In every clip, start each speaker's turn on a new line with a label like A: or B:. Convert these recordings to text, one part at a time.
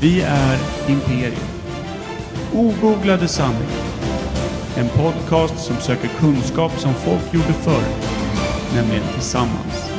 A: Vi är Imperium. Ogooglade sanningar. En podcast som söker kunskap som folk gjorde förr, nämligen tillsammans.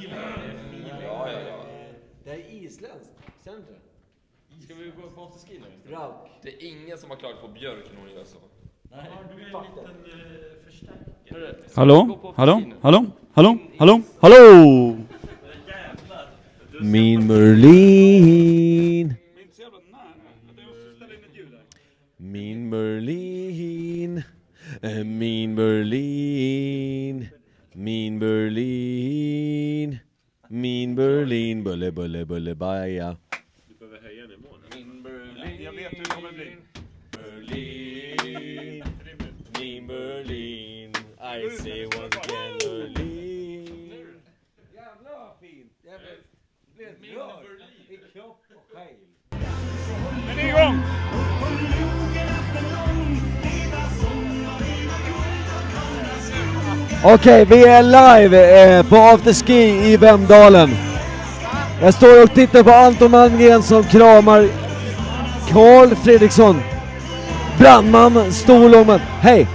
B: Ja, ja, ja.
C: Det här är isländskt, ser du inte det?
D: Ska vi gå på afterski nu?
C: Rauk.
B: Det är ingen som har klagat på Björk när hon gör så.
A: Hallå? Hallå? Hallå? Hallå? Hallå? Hallå?
D: Min Merlin. Min Merlin. Eh, Min Berlin. Min Berlin. Min Berlin. Bulle, bulle, bulle, baja. Berlin. Min Berlin. I say once again Berlin.
C: Jävla vad fint! Jävla... Blev rörd i kropp och själ.
D: Okej, vi är live eh, på afterski i Vemdalen. Jag står och tittar på Anton Malmgren som kramar Karl Fredriksson. Brandman, Storlommen. Hej!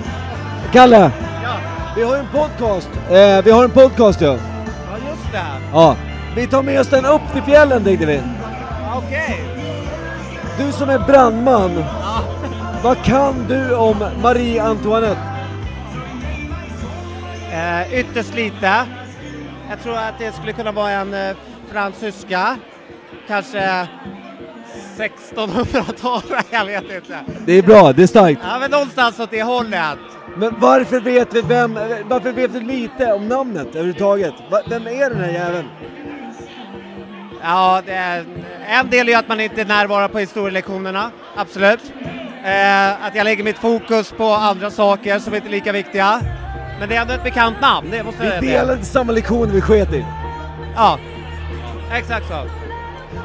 D: Kalle! Vi har en podcast. Eh, vi har en podcast ja.
E: Ja, just det.
D: ja. Vi tar med oss den upp till fjällen tänkte vi.
E: Okej.
D: Du som är brandman. Vad kan du om Marie Antoinette?
E: Eh, ytterst lite. Jag tror att det skulle kunna vara en eh, fransyska. Kanske 1600-tal, jag vet inte.
D: Det är bra, det är starkt.
E: Ja, men någonstans åt det hållet.
D: Men varför vet vi vem, varför vet vi lite om namnet överhuvudtaget? Va, vem är den här jäveln?
E: Ja, det är, en del är ju att man inte närvarar på historielektionerna, absolut. Eh, att jag lägger mitt fokus på andra saker som inte är lika viktiga. Men det är ändå ett bekant namn, det måste jag
D: Vi
E: säga.
D: delade samma lektion vi sket i.
E: Ja, exakt så.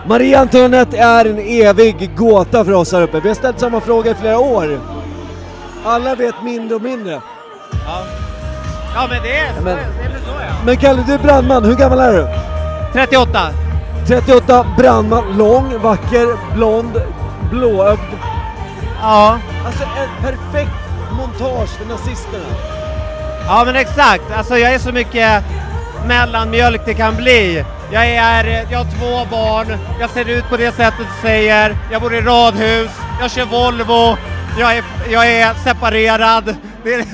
D: Marie Antoinette är en evig gåta för oss här uppe. Vi har ställt samma fråga i flera år. Alla vet mindre och mindre.
E: Ja, men det är,
D: Ja, men-
E: det är väl så ja.
D: Men Kalle, du är brandman. Hur gammal är du?
E: 38.
D: 38, brandman, lång, vacker, blond, blåögd.
E: Ja.
D: Alltså ett perfekt montage för nazisterna.
E: ja, men exakt. Alltså jag är så mycket mellanmjölk det kan bli. Jag, är, jag har två barn, jag ser ut på det sättet du säger, jag bor i radhus, jag kör Volvo, jag är, jag är separerad. Det är,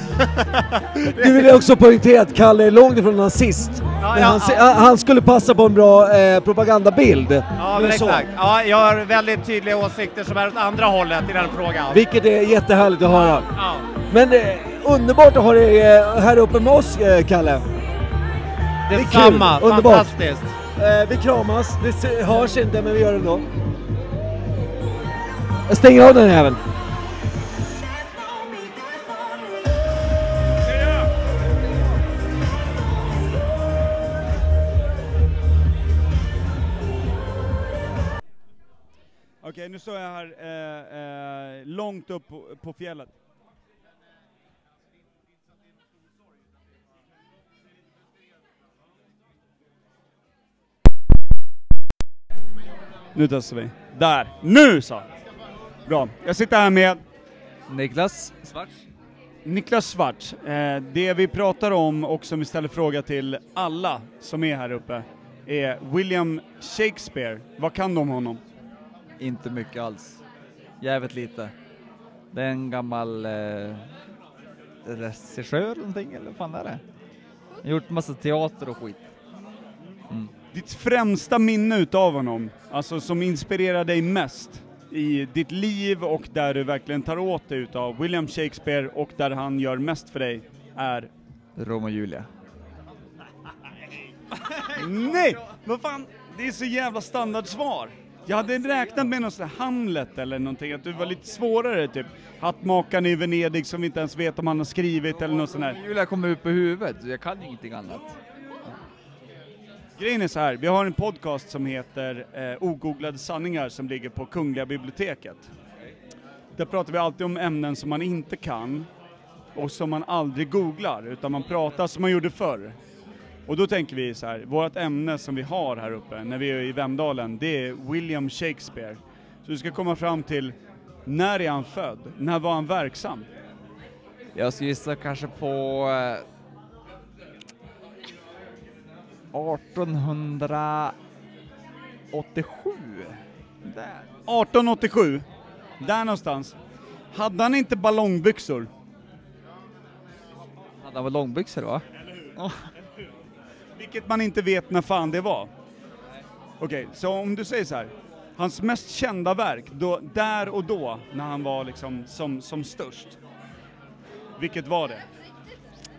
D: Nu vill jag också poängtera att Kalle är långt ifrån nazist.
E: Ja,
D: Men
E: ja,
D: han, se-
E: ja.
D: han skulle passa på en bra eh, propagandabild.
E: ja, men
D: Eller så.
E: exakt. Ja, jag har väldigt tydliga åsikter som är åt andra hållet i den frågan.
D: Vilket är jättehärligt att höra.
E: Ja.
D: Men eh, underbart att ha dig eh, här uppe med oss, eh, Kalle. är kul.
E: Detsamma,
D: Underbart.
E: fantastiskt.
D: Eh, vi kramas, det se- hörs inte men vi gör det ändå. Jag stänger av den här jäveln.
A: Okej, nu står jag här eh, eh, långt upp på, på fjället. Nu testar vi. Där! Nu så! Bra. Jag sitter här med
F: Niklas Svarts.
A: Niklas Svart. Eh, det vi pratar om och som vi ställer fråga till alla som är här uppe är William Shakespeare. Vad kan de om honom?
F: Inte mycket alls. Jävligt lite. Det är en gammal eh, regissör någonting, eller vad fan är det? Han har Gjort massa teater och skit.
A: Ditt främsta minne utav honom, alltså som inspirerar dig mest i ditt liv och där du verkligen tar åt dig utav William Shakespeare och där han gör mest för dig är...
F: Rom och Julia.
A: Nej! Vad fan, det är så jävla standardsvar. Jag hade räknat med någon sån här Hamlet eller någonting, att du var lite svårare typ. Hattmakaren i Venedig som vi inte ens vet om han har skrivit eller något sånt där.
F: Julia kommer upp på huvudet, jag kan ju ingenting annat.
A: Grejen är så här, vi har en podcast som heter eh, Ogooglade sanningar som ligger på Kungliga biblioteket. Där pratar vi alltid om ämnen som man inte kan och som man aldrig googlar, utan man pratar som man gjorde förr. Och då tänker vi så här, vårt ämne som vi har här uppe när vi är i Vemdalen, det är William Shakespeare. Så vi ska komma fram till, när är han född? När var han verksam?
F: Jag skulle gissa kanske på eh, 1887. Där.
A: 1887, där någonstans. Hade han inte ballongbyxor?
F: Hade han väl långbyxor va?
A: Vilket man inte vet när fan det var. Okej, så om du säger så här. Hans mest kända verk, då, där och då, när han var liksom som, som störst. Vilket var det?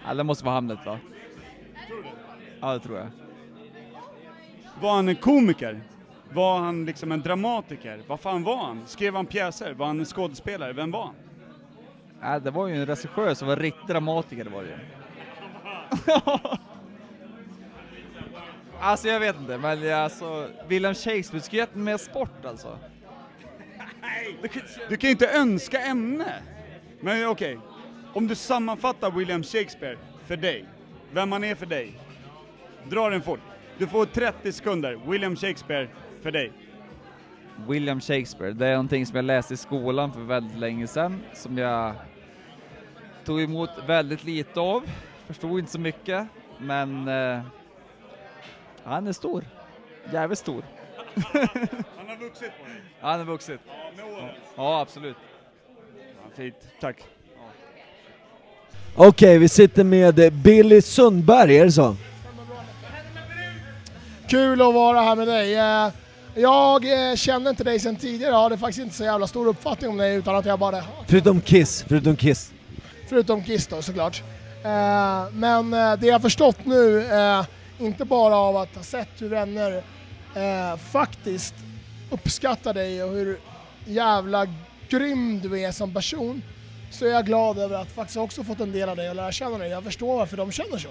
F: Ja, det måste vara Hamlet va? Ja, det tror jag.
A: Var han en komiker? Var han liksom en dramatiker? Vad fan var han? Skrev han pjäser? Var han en skådespelare? Vem var han?
F: Ja, det var ju en regissör som var riktig dramatiker var det ju. alltså jag vet inte, men jag- alltså William Shakespeare skulle gett mer sport alltså.
A: Du kan ju inte önska ämne! Men okej, om du sammanfattar William Shakespeare för dig, vem han är för dig, dra den fort. Du får 30 sekunder, William Shakespeare för dig.
F: William Shakespeare, det är någonting som jag läste i skolan för väldigt länge sedan, som jag tog emot väldigt lite av, förstod inte så mycket, men eh, han är stor. Jävligt stor.
A: Han har vuxit på dig.
F: Han är vuxit. Ja, absolut.
A: Fint, tack.
D: Okej, vi sitter med eh, Billy Sundberg, är det så?
G: Kul att vara här med dig. Eh, Jag eh, kände inte dig sedan tidigare, jag hade faktiskt inte så jävla stor uppfattning om dig utan att jag bara...
D: Förutom Kiss, förutom Kiss.
G: Förutom Kiss då såklart. Eh, Men eh, det jag förstått nu, eh, inte bara av att ha sett hur vänner eh, faktiskt uppskattar dig och hur jävla grym du är som person, så är jag glad över att faktiskt också fått en del av dig och lära känna dig. Jag förstår varför de känner så.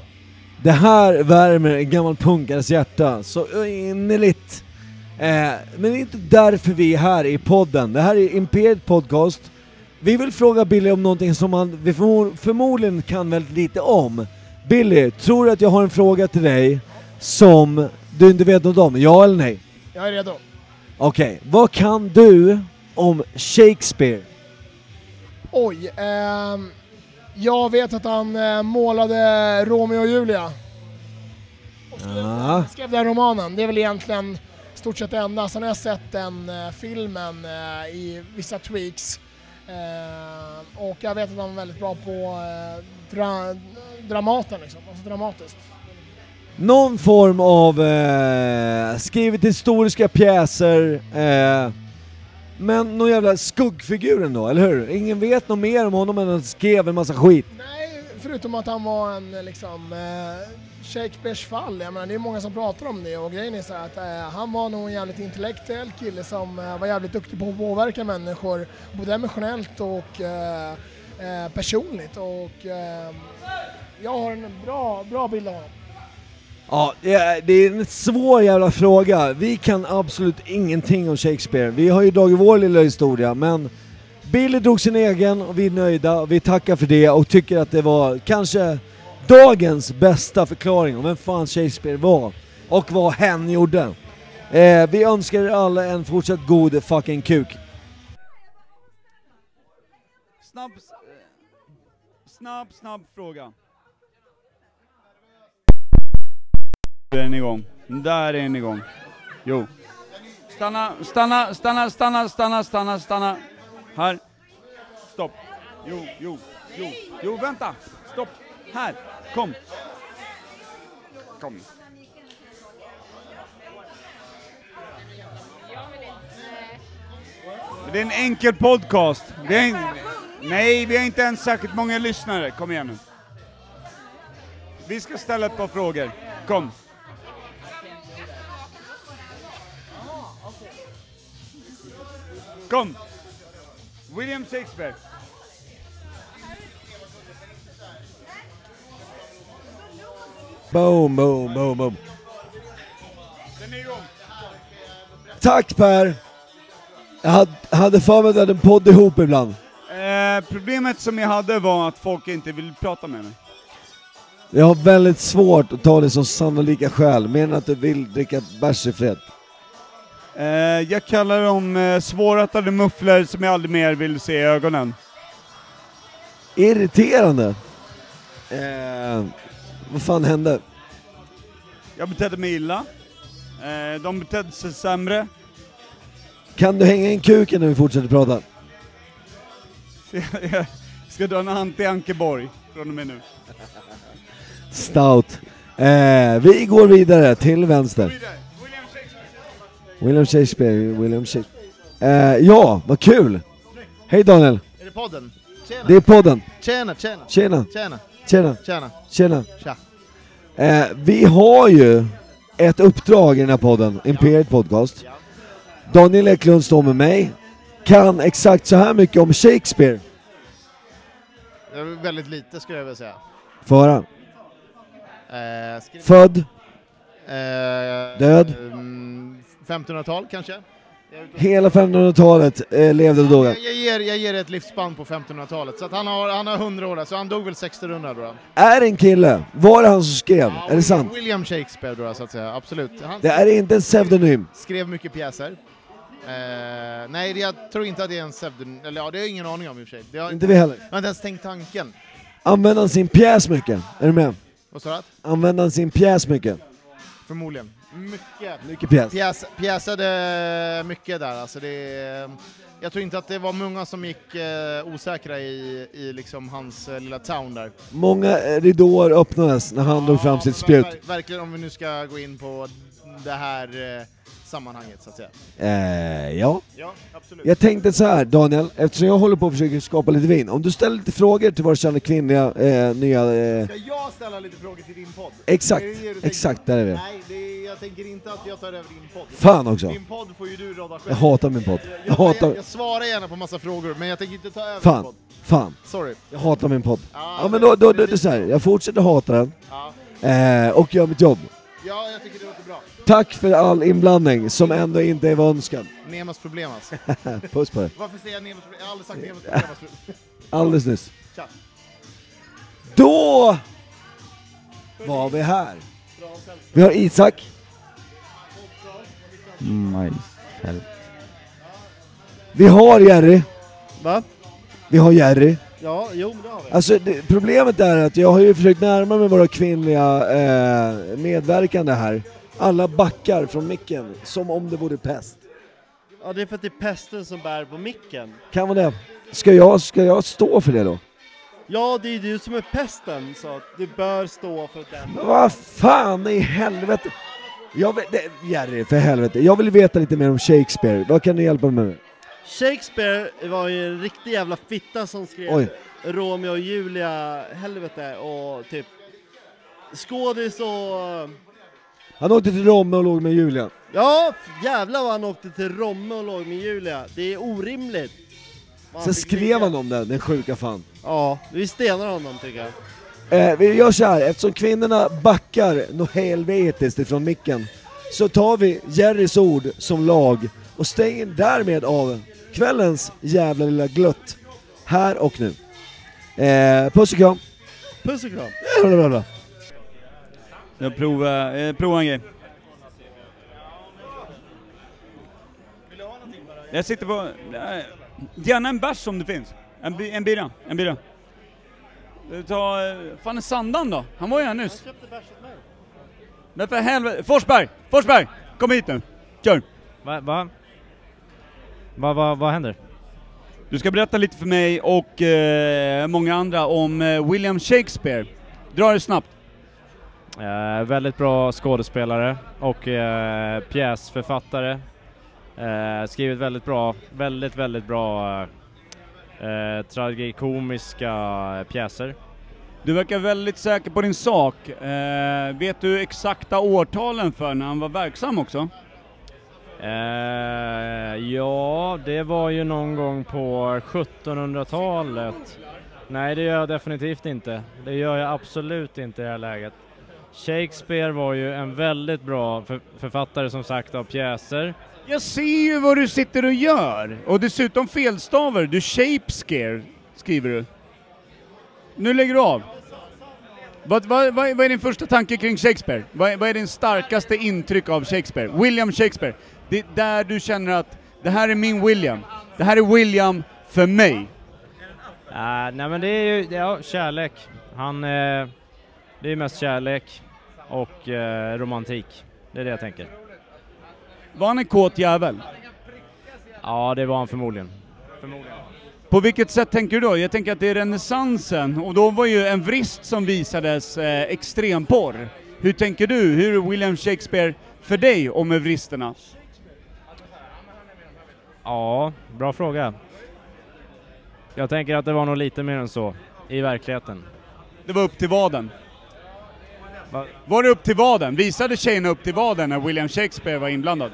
D: Det här värmer en gammal punkares hjärta så innerligt. Eh, men det är inte därför vi är här i podden. Det här är Imperiet Podcast. Vi vill fråga Billy om någonting som han vi förmo- förmodligen kan väldigt lite om. Billy, tror du att jag har en fråga till dig som du inte vet något om? Ja eller nej?
G: Jag är redo.
D: Okej, vad kan du om Shakespeare?
G: Oj, ehm, jag vet att han eh, målade Romeo och Julia.
D: Ah,
G: skrev den romanen. Det är väl egentligen i stort sett det enda. Sen har jag sett den eh, filmen eh, i vissa tweaks. Eh, och jag vet att han var väldigt bra på eh, dra- Dramaten liksom, alltså dramatiskt.
D: någon form av eh, skrivit historiska pjäser, eh, men någon jävla skuggfigur ändå, eller hur? Ingen vet något mer om honom än att han skrev en massa skit.
G: Nej, förutom att han var en eh, liksom eh, Shakespeares fall. Jag menar, det är många som pratar om det och grejen är så här att eh, han var nog en jävligt intellektuell kille som eh, var jävligt duktig på att påverka människor både emotionellt och eh, eh, personligt och eh, jag har en bra, bra bild av honom.
D: Ja, det är- det är en svår jävla fråga. Vi kan absolut ingenting om Shakespeare. Vi har ju dragit vår lilla historia, men Billy drog sin egen och vi är nöjda och vi tackar för det och tycker att det var kanske dagens bästa förklaring om vem fan Shakespeare var och vad hen gjorde. Eh, vi önskar er alla en fortsatt god fucking kuk.
A: Snabb, eh, snabb, snabb fråga. Där är ni igång. Där är ni igång. Jo. Stanna, stanna, stanna, stanna, stanna, stanna, stanna. Här. Stopp. Jo, jo, jo, jo, vänta. Stopp. Här. Kom. Kom. Det är en enkel podcast. Det är en... Nej, vi har inte ens särskilt många lyssnare. Kom igen nu. Vi ska ställa ett par frågor. Kom. Kom! William Shakespeare.
D: Boom, boom, boom, boom.
A: Den är igång.
D: Tack Per! Jag hade- hade för mig att vi hade en podd ihop ibland.
A: Eh, problemet som jag hade var att folk inte vill prata med mig.
D: Jag har väldigt svårt att ta det som sannolika skäl, mer än att du vill dricka bärs i fred.
A: Eh, jag kallar dem eh, svårrättade mufflor som jag aldrig mer vill se i ögonen.
D: Irriterande! Eh, vad fan hände?
A: Jag betedde mig illa. Eh, de betedde sig sämre.
D: Kan du hänga in kuken när vi fortsätter prata?
A: jag ska dra en Ante Ankeborg från och med nu.
D: Stout. Eh, vi går vidare till vänster. William Shakespeare, William Shakespeare. Eh, ja, vad kul! Hej Daniel,
H: Är det podden? Tjena,
D: det är podden.
H: tjena, tjena,
D: Tjena,
H: tjena,
D: tjena,
H: tjena.
D: tjena.
H: Tja.
D: Eh, vi har ju ett uppdrag i den här podden, Imperiet Podcast. Daniel Eklund står med mig, kan exakt så här mycket om Shakespeare.
H: Det är väldigt lite skulle jag vilja säga.
D: Föra.
H: Eh, skri-
D: Född,
H: eh,
D: Död.
H: mm, 1500-tal kanske? Jag är ute och-
D: hela 1500-talet, eh, levde och dog.
H: Jag, jag, ger, jag ger ett livsspann på 1500-talet, så att han, har, han har 100 år, så han dog väl 1600 då.
D: Är en kille, var det han som skrev? Är det sant?
H: William Shakespeare då, så att säga, absolut. Han
D: Det är inte en pseudonym.
H: skrev mycket pjäser. Eh, nej, det, jag tror inte att det är en pseudonym, eller ja, det har jag ingen aning om i och för sig. Det har,
D: Inte vi heller.
H: jag har inte ens tänkt tanken.
D: Använder han sin pjäs mycket? Är du med?
H: Vad sa du? att?
D: Använder han sin pjäs mycket?
H: Förmodligen. Mycket.
D: Mycket pjäs.
H: Pjäs, pjäsade mycket där. Alltså det, jag tror inte att det var många som gick eh, osäkra i, i liksom hans eh, lilla town där.
D: Många eh, ridåer öppnades när han drog fram sitt spjut.
H: Ver, verkligen om vi nu ska gå in på det här eh, sammanhanget så att säga.
D: Eh, ja.
H: Ja, absolut.
D: Jag tänkte så här Daniel, eftersom jag håller på och försöker skapa lite vin. Om du ställer lite frågor till våra kända kvinnliga eh, nya... Eh,
H: Ska jag ställa lite frågor till din podd?
D: exakt,
H: Är det det du tänker?
D: exakt där är vi.
H: Nej, det är, jag tänker inte att jag tar över din podd.
D: Fan också.
H: Din podd får ju du rodda själv.
D: Jag hatar min podd. Jag
H: Jag, jag,
D: hatar...
H: jag svarar gärna på massa frågor, men jag tänker inte ta över din
D: Fan.
H: podd.
D: Fan.
H: Sorry.
D: Jag hatar min podd.
H: Ja,
D: Ja men då, då, då, då så här. jag fortsätter hata den.
H: Ja.
D: Eh, och gör mitt jobb.
H: ja, jag tycker det låter bra.
D: Tack för all inblandning som ändå inte var önskad.
H: Nemas problem alltså.
D: Puss på dig.
H: Varför säger jag Nemas problem? Jag har aldrig sagt Nemas problem. Alltså.
D: Alldeles nyss.
H: Tja.
D: Då var vi här. Vi har Isak, vi har Jerry,
H: Va?
D: vi har Jerry.
H: Ja, jo men det har vi.
D: Alltså det, problemet är att jag har ju försökt närma mig våra kvinnliga eh, medverkande här. Alla backar från micken som om det vore pest.
I: Ja, det är för att det är pesten som bär på micken.
D: Kan vara det. Ska jag, ska jag stå för det då?
I: Ja, det är du som är pesten, så att du bör stå för den.
D: Men Vad fan i helvete! Jag vet, det, Jerry, för helvete. Jag vill veta lite mer om Shakespeare. Vad kan du hjälpa mig med?
I: Shakespeare var ju en riktig jävla fitta som skrev
D: Oj.
I: Romeo och Julia, helvete, och typ skådis och...
D: Han åkte till Romme och låg med Julia.
I: Ja, jävlar vad han åkte till Romme och låg med Julia. Det är orimligt. Vad han
D: Sen
I: fick
D: skrev
I: ligga.
D: han om det, den sjuka fan.
I: Ja, vi stenar honom tycker jag.
D: Eh, vi gör så här, eftersom kvinnorna backar nå helvetiskt ifrån micken så tar vi Jerrys ord som lag och stänger därmed av kvällens jävla lilla glutt. Här och nu. Eh, puss och kram. Eh,
I: Puss och kram.
D: Blablabla.
A: Jag provar, eh, provar en grej. Jag sitter på... Eh, gärna en bärs om det finns. En, bi- en bira. En bira. Eh, Ta... Eh, fan är Sandan då? Han var ju här nyss. Han köpte bärs åt mig. Men för helvete. Forsberg! Forsberg! Kom hit nu. Kör!
J: Va? Va? Va, va, vad händer?
A: Du ska berätta lite för mig och eh, många andra om eh, William Shakespeare. Dra det snabbt.
J: Eh, väldigt bra skådespelare och eh, pjäsförfattare. Eh, skrivit väldigt bra, väldigt, väldigt bra eh, eh, tragikomiska pjäser.
A: Du verkar väldigt säker på din sak. Eh, vet du exakta årtalen för när han var verksam också?
J: Eh, ja, det var ju någon gång på 1700-talet. Nej, det gör jag definitivt inte. Det gör jag absolut inte i det här läget. Shakespeare var ju en väldigt bra för- författare som sagt av pjäser.
A: Jag ser ju vad du sitter och gör! Och dessutom felstavar du. Shapescare skriver du. Nu lägger du av. Vad, vad, vad, är, vad är din första tanke kring Shakespeare? Vad är, vad är din starkaste intryck av Shakespeare? William Shakespeare. Det är där du känner att det här är min William. Det här är William för mig.
J: Ah, nej men det är ju ja, kärlek. Han, eh, det är mest kärlek och eh, romantik. Det är det jag tänker.
A: Var han en kåt jävel?
J: Ja, det var han förmodligen.
A: På vilket sätt tänker du då? Jag tänker att det är renässansen och då var ju en vrist som visades eh, extremporr. Hur tänker du? Hur är William Shakespeare för dig om vristerna?
J: Ja, bra fråga. Jag tänker att det var nog lite mer än så i verkligheten.
A: Det var upp till vaden. Var det upp till vaden? Visade tjejerna upp till vaden när William Shakespeare var inblandad?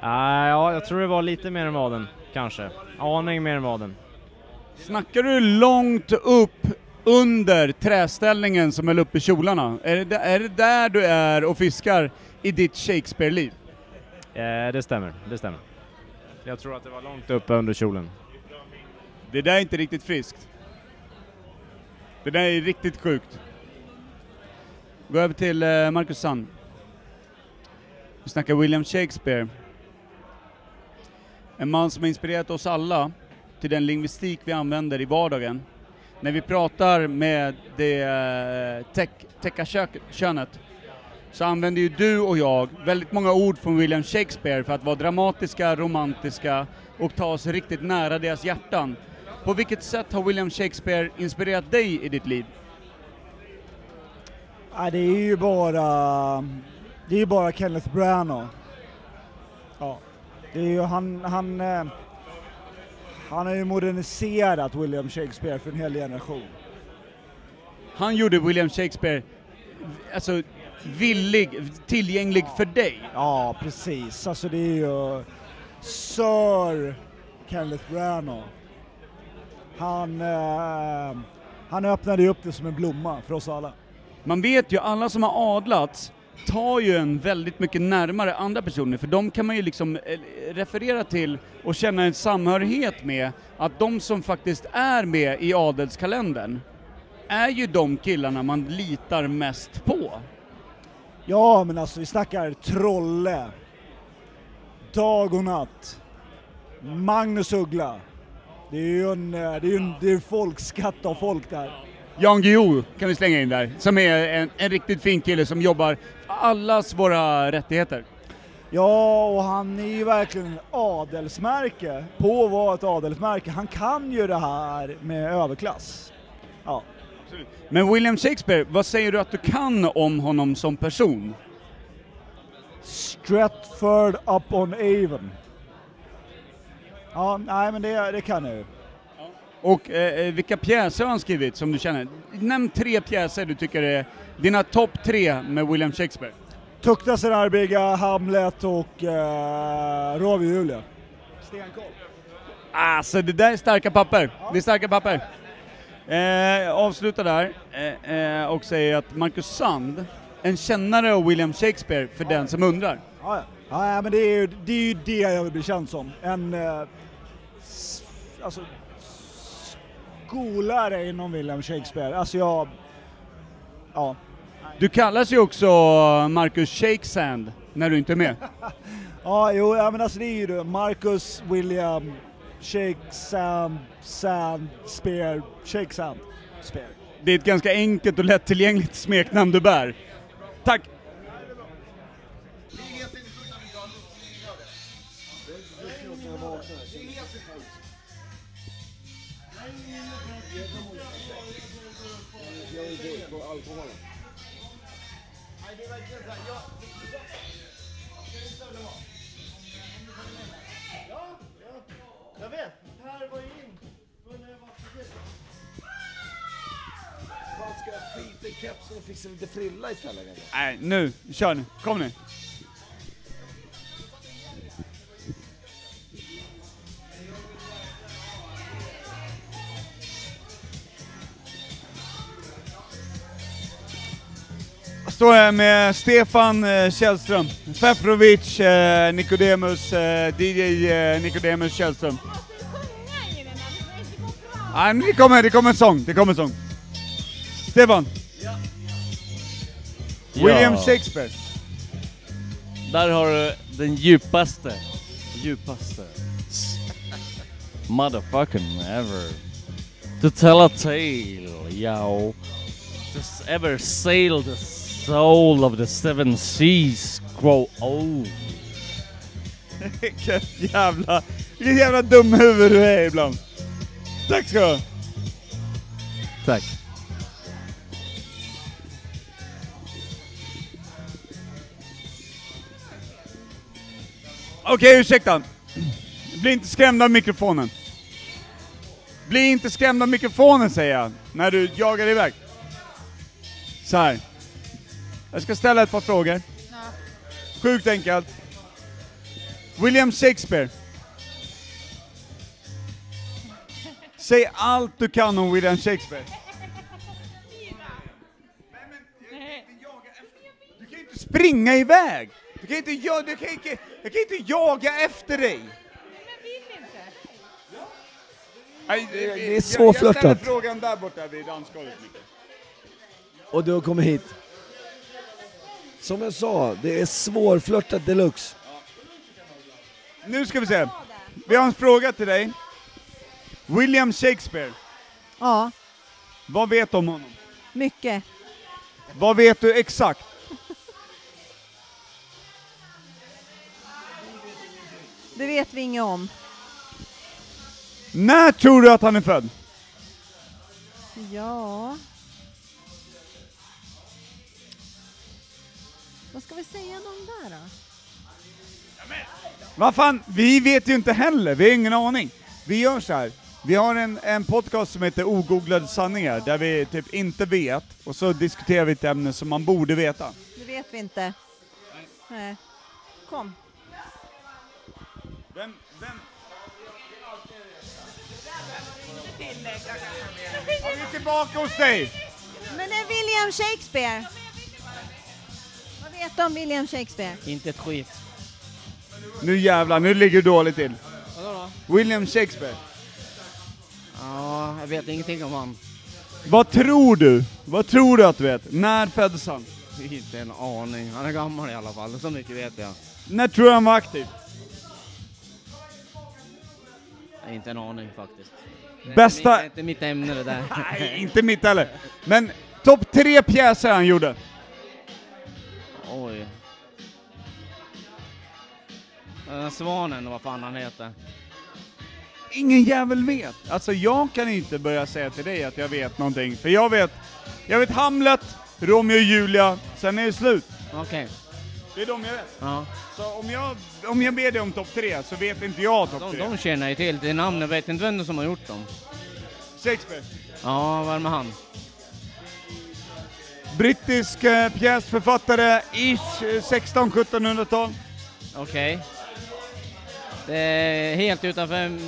J: Ah, ja, jag tror det var lite mer än vaden, kanske. Aning mer än vaden.
A: Snackar du långt upp under träställningen som höll uppe kjolarna? Är det, där- är det där du är och fiskar i ditt Shakespeare-liv?
J: Eh, det stämmer, det stämmer. Jag tror att det var långt Uppe under kjolen.
A: Det där är inte riktigt friskt. Det där är riktigt sjukt. Gå över till eh, Marcus Sand. Vi snackar William Shakespeare. En man som har inspirerat oss alla till den lingvistik vi använder i vardagen. När vi pratar med det eh, tech- teckarkönet så använder ju du och jag väldigt många ord från William Shakespeare för att vara dramatiska, romantiska och ta oss riktigt nära deras hjärtan. På vilket sätt har William Shakespeare inspirerat dig i ditt liv?
K: Ja, det är ju bara, det är ju bara Kenneth Branagh. Ja. Det är ju han, han, eh, han har ju moderniserat William Shakespeare för en hel generation.
A: Han gjorde William Shakespeare alltså, villig, tillgänglig för dig.
K: Ja, precis. Alltså det är ju Sir Kenneth Branagh. Han, eh, han öppnade ju upp det som en blomma för oss alla.
A: Man vet ju, alla som har adlats tar ju en väldigt mycket närmare andra personer, för de kan man ju liksom eh, referera till och känna en samhörighet med att de som faktiskt är med i adelskalendern är ju de killarna man litar mest på.
K: Ja, men alltså vi snackar Trolle, Dag och Natt, Magnus Uggla. Det är ju en, eh, det är ju en, det är en folkskatt av folk där.
A: Jan Guillou kan vi slänga in där, som är en, en riktigt fin kille som jobbar för allas våra rättigheter.
K: Ja, och han är ju verkligen ett adelsmärke på att vara ett adelsmärke. Han kan ju det här med överklass. Ja.
A: Men William Shakespeare, vad säger du att du kan om honom som person?
K: Stratford upon Avon. Ja, nej men det, det kan jag ju.
A: Och eh, eh, vilka pjäser har han skrivit som du känner? Nämn tre pjäser du tycker är dina topp tre med William Shakespeare.
K: Tuktas en Arbiga, Hamlet och eh, Romeo och Julia. Stenkoll.
A: Alltså det där är starka papper. Det är starka papper. Eh, avsluta där eh, eh, och säger att Marcus Sand, en kännare av William Shakespeare för den som undrar.
K: Ja, ja. ja men det är, ju, det är ju det jag vill bli känd som. En eh, s- alltså, skolare inom William Shakespeare. Alltså jag... Ja.
A: Du kallas ju också Marcus Shakesand när du inte är med.
K: Ja, jo, ja, men alltså det är ju det. Marcus, William, Shake, Sam, Sand, Spear, Shake, Sand, Spear.
A: Det är ett ganska enkelt och lättillgängligt smeknamn du bär. Tack!
I: Jag vet, Per var ju in. Men det var för dyrt.
C: Fan, ska jag skita i kepsen och fixa lite frilla istället?
A: Nej, nu. Kör nu. Kom nu. står jag här med Stefan eh, Källström, Fefrovic, eh, Nicodemus, eh, DJ eh, Nicodemus Källström. Ah, men det kommer, det kommer en sång, det kommer en sång. Stefan. William
L: Ja.
A: Shakespeare.
L: Där har du den djupaste, djupaste motherfucking ever to tell a tale, yo. Just ever sail the soul of the seven seas grow old.
A: Vilket jävla, vilket jävla dumhuvud du är ibland. Tack ska du ha.
L: Tack.
A: Okej, ursäkta. Bli inte skrämd av mikrofonen. Bli inte skrämd av mikrofonen säger jag, när du jagar iväg. Så här. Jag ska ställa ett par frågor. Sjukt enkelt. William Shakespeare. Säg allt du kan om William Shakespeare. Springa iväg! Du kan inte, ja, du kan inte, jag kan inte jaga efter dig! Nej, det,
D: Det är
A: Jag, jag ställer
D: svårflörtat.
A: frågan där borta vid dansgolvet, Micke.
D: Och du har kommit hit. Som jag sa, det är svårflörtat deluxe.
A: Nu ska vi se. Vi har en fråga till dig. William Shakespeare.
M: Ja,
A: Vad vet du om honom?
M: mycket.
A: Vad vet du exakt?
M: Det vet vi inget om.
A: När tror du att han är född?
M: Ja... Vad ska vi säga om där då?
A: Vad fan, vi vet ju inte heller, vi har ingen aning. Vi gör så här. vi har en, en podcast som heter Ogooglade sanningar, där vi typ inte vet, och så diskuterar vi ett ämne som man borde veta.
M: Det vet vi inte. Nej. Kom.
A: Vem, vem? Ja, vi är tillbaka hos dig!
M: Men det är William Shakespeare. Vad vet du om William Shakespeare?
L: Inte ett skit.
A: Nu jävlar, nu ligger du dåligt till.
N: Vadå då?
A: William Shakespeare,
N: Ja, jag vet ingenting om han.
A: vad tror du? Vad tror du att du vet? När föddes han?
N: Inte en aning. Han är gammal i alla fall, så mycket vet jag.
A: När tror du han var aktiv?
N: Nej, Inte en aning faktiskt.
A: Bästa-
N: Det är inte mitt ämne det där.
A: Nej, inte mitt heller. Men topp tre pjäser han gjorde.
N: Oj. Den där Eh, svanen, vad fan han heter.
A: Ingen jävel vet. Alltså jag kan inte börja säga till dig att jag vet någonting, för jag vet, jag vet Hamlet, Romeo och Julia, sen är det slut.
N: Okej.
A: Det är de jag vet.
N: Ja.
A: Så om jag, om jag ber dig om topp tre så vet inte jag topp
N: De,
A: tre.
N: de känner jag ju till. Det är namnen, vet inte vem som har gjort dem.
A: Shakespeare.
N: Ja, vad är det med han?
A: Brittisk eh, pjäsförfattare, ish, eh, 16-1700-tal.
N: Okej. Det är helt utanför...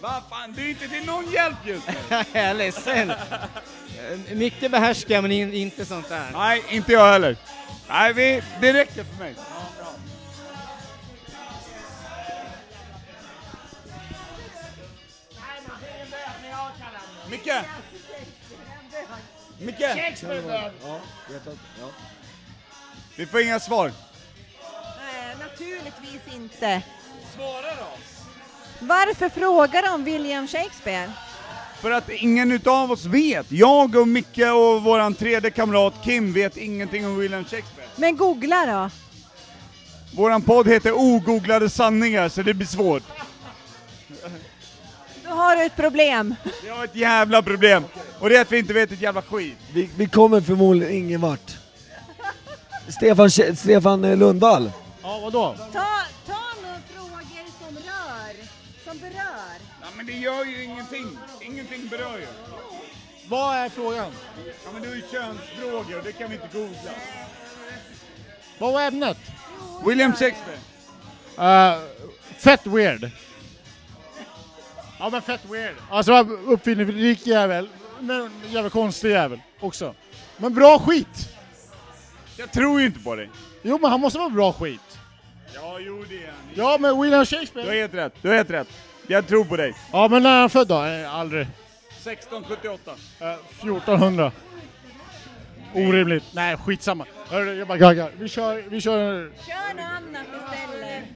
A: Vad fan, du är inte till någon hjälp just nu!
N: jag är ledsen. Mycket behärskar jag, men in, inte sånt där.
A: Nej, inte jag heller. Nej, vi, det räcker för mig. Micke! Micke!
G: Shakespeare död.
A: Vi får inga svar.
M: Nej, naturligtvis inte.
A: Svara då!
M: Varför frågar de William Shakespeare?
A: För att ingen utav oss vet. Jag och Micke och våran tredje kamrat Kim vet ingenting om William Shakespeare.
M: Men googla då.
A: Våran podd heter Ogooglade sanningar, så det blir svårt.
M: Då har du ett problem.
A: Vi har ett jävla problem. Och det är att vi inte vet ett jävla skit.
D: Vi, vi kommer förmodligen ingen vart. Stefan, Ke- Stefan eh, Lundvall.
J: Ja, vadå?
M: Ta, ta några frågor som rör, som berör.
A: Ja, men det gör ju ingenting. Ingenting berör ju.
O: Vad är frågan?
A: Ja, men det är ju könsfrågor, det kan vi inte googla.
O: Vad var ämnet? Eh,
A: William Shakespeare.
O: fett weird. Ja men fett weird. Alltså uppfinningsrik jävel. Men jävla konstig jävel också. Men bra skit!
A: Jag tror ju inte på dig.
O: Jo, men han måste vara bra skit.
A: Ja, jo det är han.
O: Ja, men William
A: Du
O: Shakespeare.
A: har helt rätt, du har helt rätt. Jag tror på dig.
O: Ja, men när är han född då? Eh, Aldrig. Eh,
A: 1678.
O: 1400. Orimligt. Nej, skitsamma. Hörru, jag bara gaggar. Vi kör, vi kör
M: Kör något annat istället.